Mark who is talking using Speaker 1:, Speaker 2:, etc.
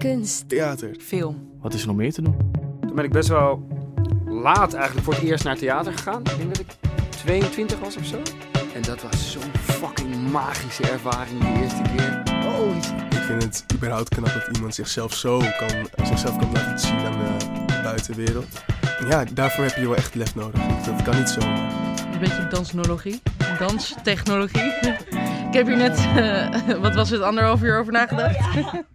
Speaker 1: Kunst.
Speaker 2: Theater.
Speaker 3: Film.
Speaker 4: Wat is er nog meer te doen?
Speaker 5: Toen ben ik best wel laat eigenlijk voor het eerst naar theater gegaan. Ik denk dat ik 22 was of zo. En dat was zo'n fucking magische ervaring die eerste keer.
Speaker 2: Oh, ik vind het überhaupt knap dat iemand zichzelf zo kan, zichzelf kan laten zien aan de buitenwereld. Ja, daarvoor heb je wel echt lef nodig. Dat kan niet zo.
Speaker 3: Een beetje dansnologie. Danstechnologie. Ik heb hier net, eh, wat was het, anderhalf uur over nagedacht.